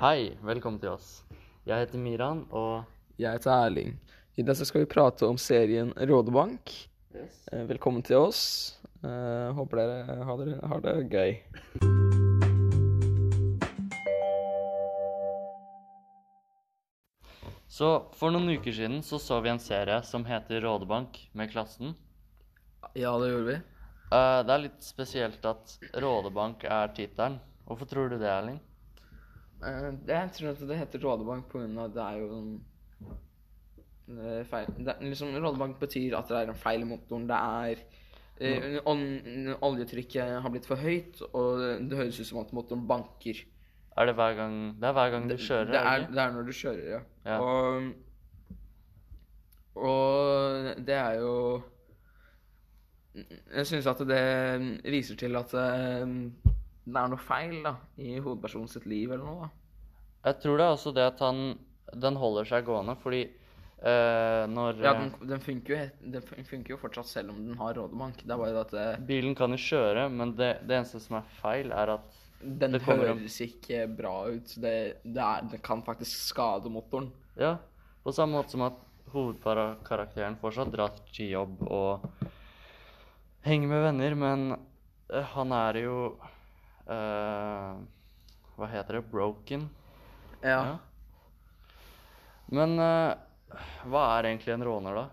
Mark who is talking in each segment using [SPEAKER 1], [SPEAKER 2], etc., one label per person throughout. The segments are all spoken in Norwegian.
[SPEAKER 1] Hei, velkommen til oss. Jeg heter Miran, og
[SPEAKER 2] Jeg heter Erling. I dag så skal vi prate om serien Rådebank. Eh, Velkommen til oss. Eh, Håper dere har, dere har det gøy.
[SPEAKER 1] Så for noen uker siden så, så vi en serie som heter Rådebank med klassen.
[SPEAKER 2] Ja, det gjorde vi.
[SPEAKER 1] Eh, det er litt spesielt at Rådebank er tittelen. Hvorfor tror du det, Erling?
[SPEAKER 2] Jeg tror at Eh, det heter Rådebank pga. det er jo en eh, feil det, er liksom, Rådebank betyr at det er en feil i motoren. Det er eh, on- Oljetrykket har blitt for høyt, og det høres ut som at motoren banker.
[SPEAKER 1] Er det hver gang Det er hver gang du kjører?
[SPEAKER 2] Det er,
[SPEAKER 1] ikke?
[SPEAKER 2] det er når du kjører, ja.
[SPEAKER 1] Ja.
[SPEAKER 2] Og, og det er jo Jeg syns at det viser til at eh, det er noe feil da, i hovedpersonen sitt liv eller noe. da.
[SPEAKER 1] Jeg tror det er også det at han Den holder seg gående, fordi eh, når
[SPEAKER 2] Ja, den, den, funker jo, helt- den fun- funker jo fortsatt selv om den har rådebank. Det er bare det at
[SPEAKER 1] eh,
[SPEAKER 2] det,
[SPEAKER 1] Bilen kan jo kjøre, men det, det eneste som er feil, er at
[SPEAKER 2] den
[SPEAKER 1] Det kommer an-
[SPEAKER 2] høres ikke bra ut. Det, det, er, det kan faktisk skade motoren.
[SPEAKER 1] Ja, på samme måte som at hovedkarakteren fortsatt drar til jobb og henger med venner, men eh, han er jo eh, Hva heter det? Broken? Ja. Men eh, hva er egentlig en råner, da?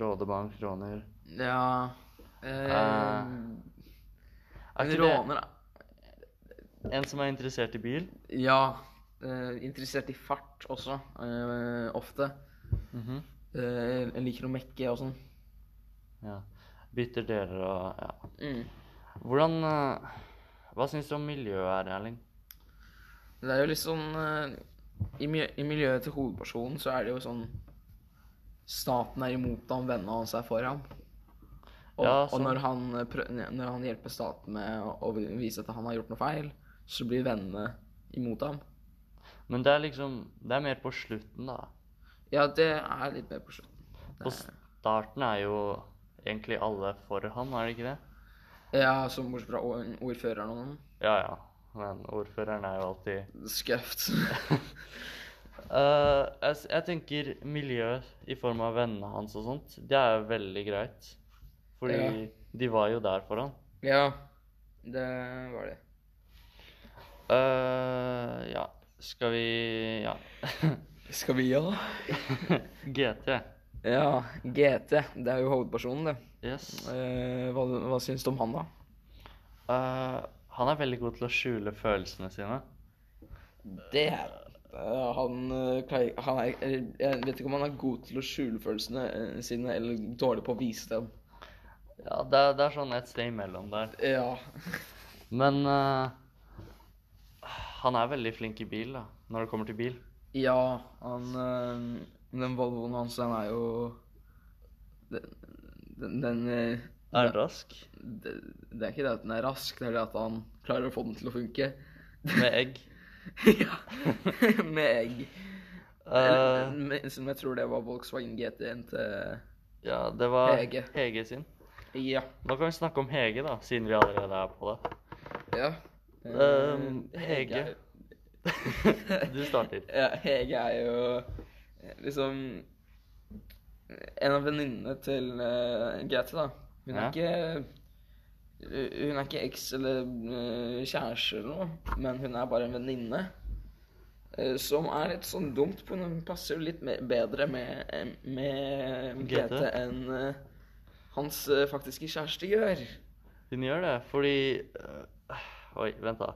[SPEAKER 1] Rådebank, råner
[SPEAKER 2] Ja eh,
[SPEAKER 1] Eh, Er
[SPEAKER 2] En
[SPEAKER 1] ikke
[SPEAKER 2] råner
[SPEAKER 1] det en som er interessert i bil?
[SPEAKER 2] Ja. eh, interessert i fart også, eh, ofte.
[SPEAKER 1] Mhm.
[SPEAKER 2] Eh, jeg liker å mekke og sånn.
[SPEAKER 1] Ja. Bytter deler og ja.
[SPEAKER 2] Mm.
[SPEAKER 1] Hvordan eh, Hva syns du om miljøet her, Erling?
[SPEAKER 2] Det er jo litt sånn eh, i, mi- I miljøet til hovedpersonen så er det jo sånn Staten er imot ham, vennene hans er for ham. Og,
[SPEAKER 1] Ja,
[SPEAKER 2] og
[SPEAKER 1] sånn.
[SPEAKER 2] når, han eh, prø når han hjelper staten med å- å vise at han har gjort noe feil, så blir vennene imot ham.
[SPEAKER 1] Men det er liksom Det er mer på slutten, da.
[SPEAKER 2] Ja, det er litt mer på slutten.
[SPEAKER 1] På starten er jo egentlig alle for han, er det ikke det?
[SPEAKER 2] Ja, som bortsett fra or- ordføreren og noen.
[SPEAKER 1] Ja ja. Men ordføreren er jo alltid
[SPEAKER 2] Skøft.
[SPEAKER 1] Eh, jeg, s- jeg tenker miljø i form av vennene hans og sånt, det er jo veldig greit. Fordi
[SPEAKER 2] Ja.
[SPEAKER 1] de var jo der for han.
[SPEAKER 2] ja, det var det.
[SPEAKER 1] Eh, ja, skal vi Ja.
[SPEAKER 2] Skal vi gjøre
[SPEAKER 1] GT.
[SPEAKER 2] Ja, GT. Det er jo hovedpersonen, det.
[SPEAKER 1] Yes.
[SPEAKER 2] Eh, hva, hva syns du om han, da?
[SPEAKER 1] Eh, han er veldig god til å skjule følelsene sine.
[SPEAKER 2] Det han, eh, klei- han er eller, Jeg vet ikke om han er god til å skjule følelsene eh, sine, eller dårlig på å vise dem.
[SPEAKER 1] Ja, det, er- det er sånn et sted imellom der.
[SPEAKER 2] Ja.
[SPEAKER 1] Men eh, han er veldig flink i bil, da, når det kommer til bil.
[SPEAKER 2] Ja, han eh, Den Volvoen hans, den er jo Den, den, den eh,
[SPEAKER 1] Er han rask?
[SPEAKER 2] det, det er ikke det at den er rask, det er det at han klarer å få den til å funke.
[SPEAKER 1] Med egg.
[SPEAKER 2] ja. Med egg. Eller,
[SPEAKER 1] Eh,
[SPEAKER 2] men- Som jeg tror det var Volkswagen GT-en til
[SPEAKER 1] ja, det var Hege.
[SPEAKER 2] Hege.
[SPEAKER 1] sin.
[SPEAKER 2] Ja.
[SPEAKER 1] Nå kan vi snakke om Hege, da, siden vi allerede er på det.
[SPEAKER 2] ja.
[SPEAKER 1] Ehm,
[SPEAKER 2] Eh,
[SPEAKER 1] Hege.
[SPEAKER 2] er-
[SPEAKER 1] Du starter.
[SPEAKER 2] ja, Hege er jo eh, liksom en av venninnene til eh, GT, da. Hun er
[SPEAKER 1] Ja.
[SPEAKER 2] ikke Hun er ikke eks eller eh, kjæreste eller noe, men hun er bare en venninne. eh, Som er litt sånn dumt, for hun passer jo litt mer, bedre med, eh, med
[SPEAKER 1] GT.
[SPEAKER 2] GT enn eh, hans eh, faktiske kjæreste gjør.
[SPEAKER 1] Hun gjør det fordi eh, Oi, vent, da.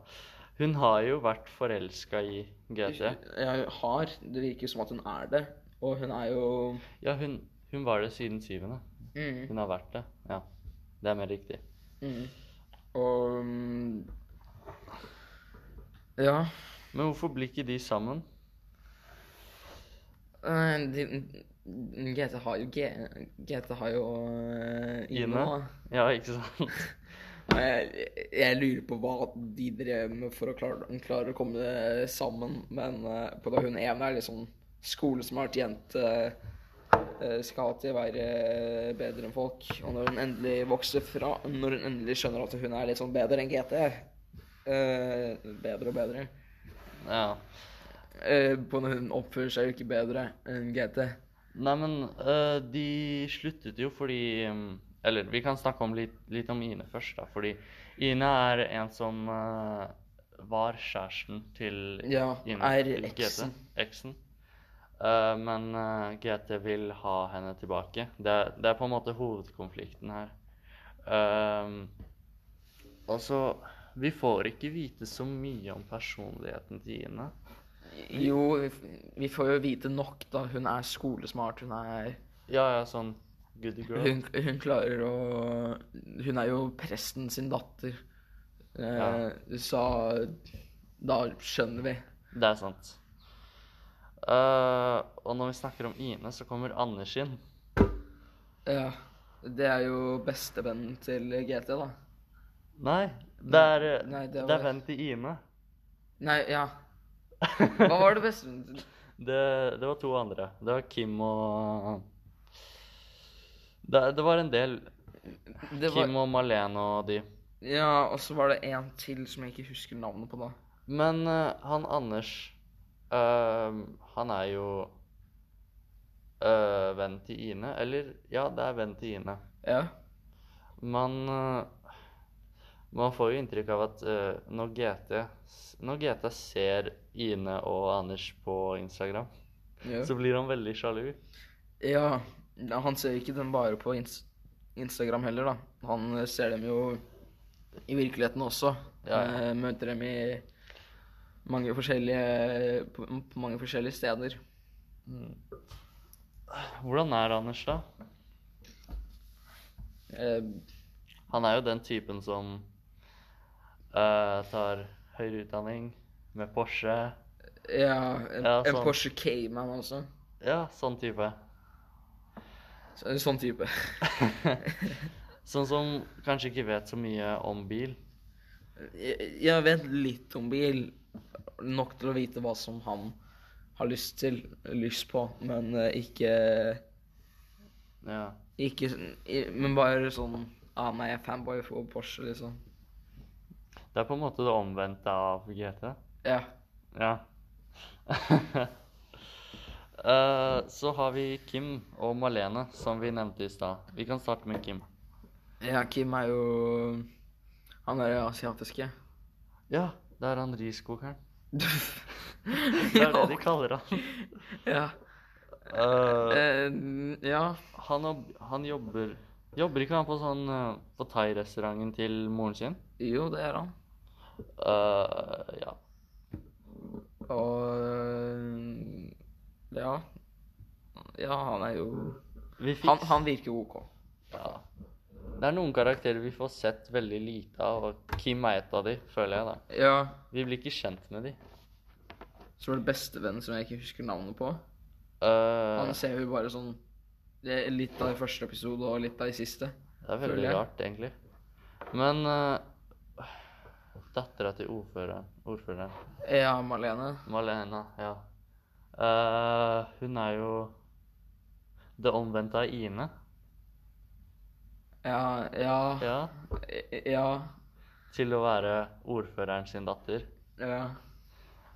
[SPEAKER 1] Hun har jo vært forelska i GT.
[SPEAKER 2] Jeg har. Det virker som at hun er det. Og hun er jo
[SPEAKER 1] Ja, hun, hun var det siden syvende. Hun har vært det. Ja. Det er mer riktig.
[SPEAKER 2] Mm. Og mm, Ja.
[SPEAKER 1] Men hvorfor blir ikke de sammen?
[SPEAKER 2] eh, De, GT har jo G, GT har jo eh, Ine. da.
[SPEAKER 1] Ja, ikke sant?
[SPEAKER 2] Og Jeg, jeg lurer på hva de drev med for å klare, klare å komme sammen. Men eh, på det hun ene er litt sånn skolesmart jente. eh, Skal alltid være bedre enn folk. Og når hun endelig vokser fra Når hun endelig skjønner at hun er litt sånn bedre enn GT, eh, bedre og bedre.
[SPEAKER 1] Ja.
[SPEAKER 2] Eh, på den oppfører seg jo ikke bedre enn GT.
[SPEAKER 1] Nei, men eh, de sluttet jo fordi mm, Eller vi kan snakke om litt, litt om Ine først, da. Fordi Ine er en som eh, var kjæresten til
[SPEAKER 2] Ja,
[SPEAKER 1] Ine.
[SPEAKER 2] er
[SPEAKER 1] til GT,
[SPEAKER 2] eksen.
[SPEAKER 1] Eksen. Eh, men eh, GT vil ha henne tilbake. Det, er- det er på en måte hovedkonflikten her. Ehm, og så Vi får ikke vite så mye om personligheten til Ine.
[SPEAKER 2] Jo, vi, f- vi får jo vite nok, da. Hun er skolesmart. Hun er
[SPEAKER 1] Ja, ja, sånn good girl.
[SPEAKER 2] Hun, hun klarer å Hun er jo presten sin datter. Eh,
[SPEAKER 1] Ja.
[SPEAKER 2] Så da skjønner vi.
[SPEAKER 1] Det er sant. Eh, og når vi snakker om Ine, så kommer Anders inn.
[SPEAKER 2] Ja. Det er jo bestevennen til GT, da.
[SPEAKER 1] Nei, det er,
[SPEAKER 2] Nei,
[SPEAKER 1] det
[SPEAKER 2] det
[SPEAKER 1] er
[SPEAKER 2] var-
[SPEAKER 1] vennen til Ine.
[SPEAKER 2] Nei, ja. Hva var det bestevennen til?
[SPEAKER 1] Det, det var to andre. Det var Kim og Det, det var en del.
[SPEAKER 2] Det var,
[SPEAKER 1] Kim og Malene og de.
[SPEAKER 2] ja, og så var det en til som jeg ikke husker navnet på, da.
[SPEAKER 1] Men eh, han Anders eh, Han er jo eh, venn til Ine. Eller ja, det er venn til Ine.
[SPEAKER 2] Ja.
[SPEAKER 1] Man, eh, man får jo inntrykk av at eh, når, GT, s- når GT ser Ine og Anders på Instagram,
[SPEAKER 2] Ja.
[SPEAKER 1] så blir han veldig sjalu.
[SPEAKER 2] Ja, ja, han ser jo ikke dem bare på ins Instagram heller, da. Han eh, ser dem jo i virkeligheten også.
[SPEAKER 1] Ja, ja.
[SPEAKER 2] Eh, Møter dem i mange forskjellige på, på mange forskjellige steder.
[SPEAKER 1] Hvordan er Anders, da?
[SPEAKER 2] Eh,
[SPEAKER 1] Han er jo den typen som eh, tar høyere utdanning med Porsche.
[SPEAKER 2] ja, en,
[SPEAKER 1] Ja,
[SPEAKER 2] en
[SPEAKER 1] sånn.
[SPEAKER 2] Porsche Cayman også.
[SPEAKER 1] Ja, sånn type.
[SPEAKER 2] Så, en sånn type.
[SPEAKER 1] Sånn som kanskje ikke vet så mye om bil.
[SPEAKER 2] Jeg, jeg vet litt om bil. Nok til å vite hva som han har lyst til, lyst på, men eh, ikke
[SPEAKER 1] Ja.
[SPEAKER 2] Ikke sånn- i- Men bare sånn Ah, nei, jeg er fanboy for Porsche, liksom.
[SPEAKER 1] Det er på en måte det omvendte av GT.
[SPEAKER 2] Ja.
[SPEAKER 1] Ja. Eh, så har vi Kim og Malene, som vi nevnte i stad. Vi kan starte med Kim.
[SPEAKER 2] ja Kim er jo Han er jo asiatiske.
[SPEAKER 1] Ja, det er han riskokeren. Det er det de
[SPEAKER 2] ja.
[SPEAKER 1] kaller han.
[SPEAKER 2] ja.
[SPEAKER 1] Eh,
[SPEAKER 2] Eh, ja.
[SPEAKER 1] han, ob- han jobber Jobber ikke han på sånn eh, På thai-restauranten til moren sin?
[SPEAKER 2] Jo, det er han.
[SPEAKER 1] Eh, ja.
[SPEAKER 2] Og eh, Ja. Ja, han er jo
[SPEAKER 1] Vi fikk
[SPEAKER 2] Han, han virker OK.
[SPEAKER 1] Ja. Det er noen karakterer vi får sett veldig lite av, og Kim er et av de, føler jeg, da.
[SPEAKER 2] Ja.
[SPEAKER 1] Vi blir ikke kjent med de.
[SPEAKER 2] Så var det bestevennen som jeg ikke husker navnet på.
[SPEAKER 1] Eh,
[SPEAKER 2] Han ser vi bare sånn det er Litt av i første episode og litt av i siste.
[SPEAKER 1] Det er
[SPEAKER 2] Føler
[SPEAKER 1] veldig
[SPEAKER 2] jeg.
[SPEAKER 1] rart, egentlig. Men uh, dattera til ordføreren, ordføreren
[SPEAKER 2] Ja, Malene.
[SPEAKER 1] Malena, ja. Eh, hun er jo det omvendte av Ine.
[SPEAKER 2] Ja, ja,
[SPEAKER 1] Ja.
[SPEAKER 2] ja,
[SPEAKER 1] Til å være ordføreren sin datter.
[SPEAKER 2] ja.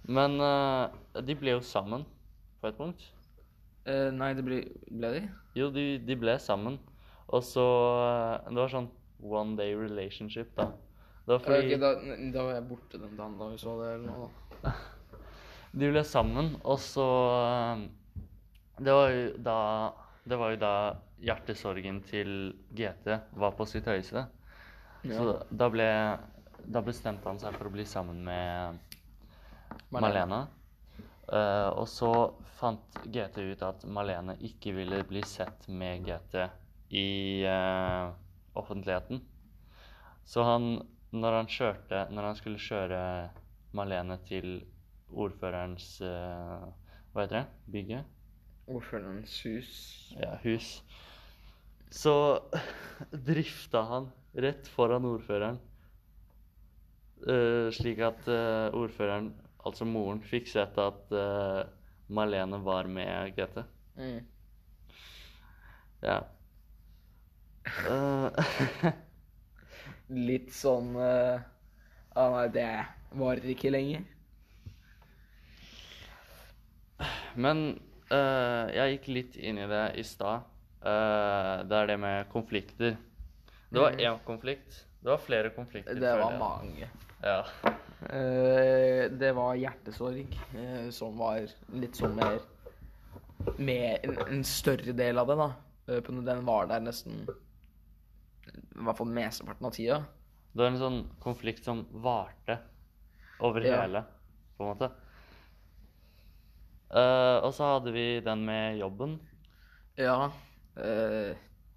[SPEAKER 1] Men eh, de ble jo sammen på et punkt.
[SPEAKER 2] Eh, nei, det ble, ble de?
[SPEAKER 1] Jo, de, de ble sammen. Og så eh, Det var sånn one day relationship, da. Det var fordi
[SPEAKER 2] Ok, da, da var jeg borte den dagen da vi så det. eller noe.
[SPEAKER 1] De ble sammen, og så eh, Det var jo da det var jo da hjertesorgen til GT var på sitt høyeste.
[SPEAKER 2] Ja.
[SPEAKER 1] Så da ble Da bestemte han seg for å bli sammen med Malene. Eh, og så fant GT ut at Malene ikke ville bli sett med GT i eh, offentligheten. Så han, når han kjørte Når han skulle kjøre Malene til ordførerens eh, Hva heter det? Bygget?
[SPEAKER 2] Ordførerens hus.
[SPEAKER 1] ja, hus, så drifta han rett foran ordføreren. Eh, slik at eh, ordføreren, altså moren, fikk sett at eh, Malene var med GT.
[SPEAKER 2] Mm.
[SPEAKER 1] Ja. Eh,
[SPEAKER 2] Litt sånn eh, Å nei, det varer ikke lenger.
[SPEAKER 1] Men eh, jeg gikk litt inn i det i stad. Eh, det er det med konflikter. Det var
[SPEAKER 2] Mhm.
[SPEAKER 1] én konflikt. Det var flere konflikter.
[SPEAKER 2] Det
[SPEAKER 1] før
[SPEAKER 2] var mange.
[SPEAKER 1] Ja.
[SPEAKER 2] Eh, det var hjertesorg, eh, som var litt sånn mer Med en, en større del av det, da. Eh, på- Den var der nesten I hvert fall mesteparten av tida.
[SPEAKER 1] Det var en sånn konflikt som varte over
[SPEAKER 2] Ja.
[SPEAKER 1] hele, på en måte. Eh, og så hadde vi den med jobben.
[SPEAKER 2] Ja. Eh,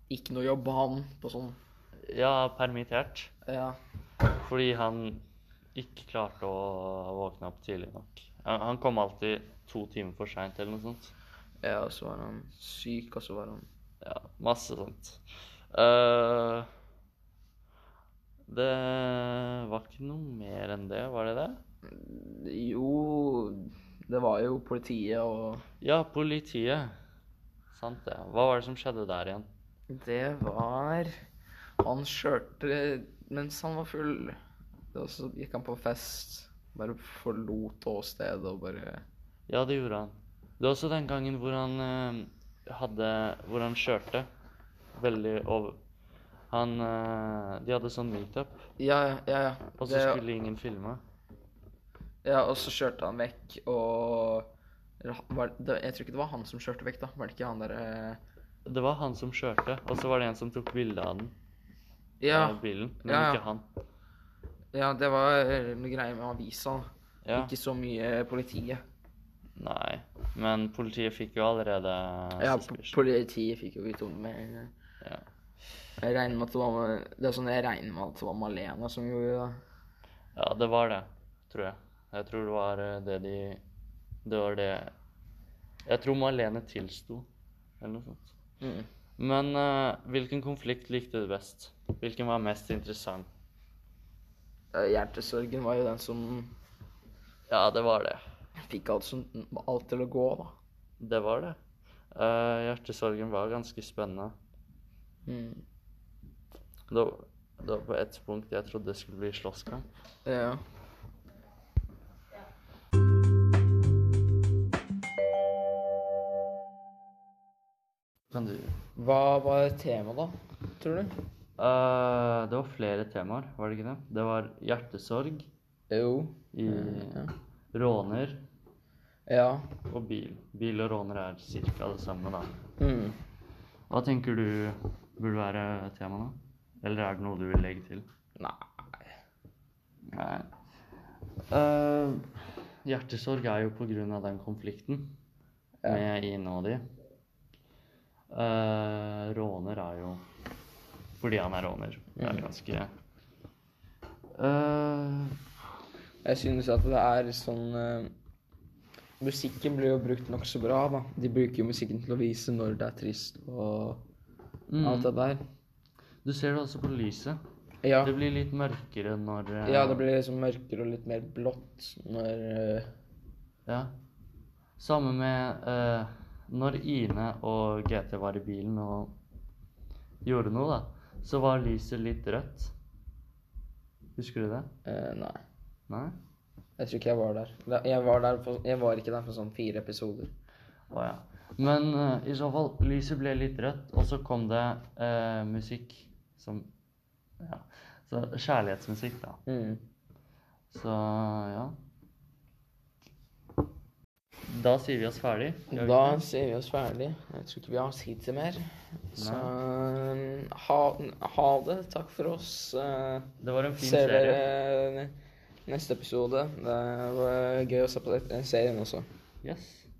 [SPEAKER 2] ikke noe jobb han på sånn.
[SPEAKER 1] Ja, permittert.
[SPEAKER 2] Ja.
[SPEAKER 1] Fordi han ikke klarte å våkne opp tidlig nok. Han han kom alltid to timer for seint eller noe sånt.
[SPEAKER 2] ja, og så var han syk, og så var han
[SPEAKER 1] Ja, masse sånt. Eh, det var ikke noe mer enn det, var det det?
[SPEAKER 2] Jo, det var jo politiet og
[SPEAKER 1] Ja, politiet. Sant det. Hva var det som skjedde der igjen?
[SPEAKER 2] Det var Han kjørte mens han var full. Og så gikk han på fest. Bare forlot åstedet og bare
[SPEAKER 1] Ja, det gjorde han. Det var også den gangen hvor han eh, hadde Hvor han kjørte veldig over Han eh, De hadde sånn meetup,
[SPEAKER 2] Ja, ja, ja.
[SPEAKER 1] og så
[SPEAKER 2] Det,
[SPEAKER 1] skulle ingen filme.
[SPEAKER 2] ja og så kjørte han vekk, og eller han- var, det, Jeg tror ikke det var han som kjørte vekk, da. Var det ikke han eh? derre
[SPEAKER 1] Det var han som kjørte, og så var det en som tok bilde av den eh,
[SPEAKER 2] ja,
[SPEAKER 1] bilen, men
[SPEAKER 2] Ja, ja.
[SPEAKER 1] ikke han.
[SPEAKER 2] ja, det var eh, noe greier med avisa.
[SPEAKER 1] Ja.
[SPEAKER 2] Ikke så mye politiet.
[SPEAKER 1] Nei. Men politiet fikk jo allerede
[SPEAKER 2] Ja, po-
[SPEAKER 1] suspicion.
[SPEAKER 2] politiet fikk jo vite om det. med en gang.
[SPEAKER 1] Ja.
[SPEAKER 2] eh. Jeg regner med at det var Det er sånn jeg regner med at det var Malena som gjorde det.
[SPEAKER 1] ja, det var det, tror jeg. Jeg tror det var eh, det de Det var det Jeg tror Malene tilsto, eller noe sånt.
[SPEAKER 2] Mm.
[SPEAKER 1] Men eh, hvilken konflikt likte du best? Hvilken var mest interessant?
[SPEAKER 2] Eh, Hjertesorgen var jo den som
[SPEAKER 1] Ja, det var det.
[SPEAKER 2] fikk alt, som, alt til å gå, da.
[SPEAKER 1] Det var det. Eh, hjertesorgen var ganske spennende.
[SPEAKER 2] Mm.
[SPEAKER 1] Det var, det var på et punkt jeg trodde det skulle bli slåsskamp.
[SPEAKER 2] Ja.
[SPEAKER 1] Kan du
[SPEAKER 2] Hva var temaet, da? Tror du?
[SPEAKER 1] Eh, Det var flere temaer, var det ikke det? Det var hjertesorg
[SPEAKER 2] Jo.
[SPEAKER 1] i råner
[SPEAKER 2] Ja.
[SPEAKER 1] og bil. Bil og råner er ca. det samme, da.
[SPEAKER 2] Mm.
[SPEAKER 1] Hva tenker du burde være temaet, da? Eller er det noe du vil legge til?
[SPEAKER 2] Nei.
[SPEAKER 1] Nei. Eh, hjertesorg er jo på grunn av den konflikten
[SPEAKER 2] Ja.
[SPEAKER 1] med Ine og de. Eh, råner er jo fordi han er råner. Det
[SPEAKER 2] Mm.
[SPEAKER 1] er ganske Eh,
[SPEAKER 2] Jeg synes at det er sånn eh, Musikken blir jo brukt nokså bra, da. De bruker jo musikken til å vise når det er trist og alt det der.
[SPEAKER 1] mm. Du ser det også på lyset.
[SPEAKER 2] Ja.
[SPEAKER 1] Det blir litt mørkere når eh,
[SPEAKER 2] ja, det blir liksom mørkere og litt mer blått når eh,
[SPEAKER 1] ja. Samme med eh, når Ine og GT var i bilen og gjorde noe, da, så var lyset litt rødt. Husker du det?
[SPEAKER 2] eh, Nei.
[SPEAKER 1] Nei?
[SPEAKER 2] Jeg tror ikke jeg var der. Da- Jeg var, der for, jeg var ikke der for sånn fire episoder.
[SPEAKER 1] Å ja. Men eh, i så fall, lyset ble litt rødt, og så kom det eh, musikk som Ja. Så kjærlighetsmusikk, da.
[SPEAKER 2] Mm.
[SPEAKER 1] Så ja. Da sier vi oss ferdig. gjør vi
[SPEAKER 2] Da
[SPEAKER 1] ikke det?
[SPEAKER 2] ser vi oss ferdig. Jeg tror ikke vi har tid til mer. Så um, ha, ha det. Takk for oss. Uh,
[SPEAKER 1] Det var en fin
[SPEAKER 2] ser eh,
[SPEAKER 1] serie.
[SPEAKER 2] dere neste episode. Det var gøy å se på den serien også.
[SPEAKER 1] Yes.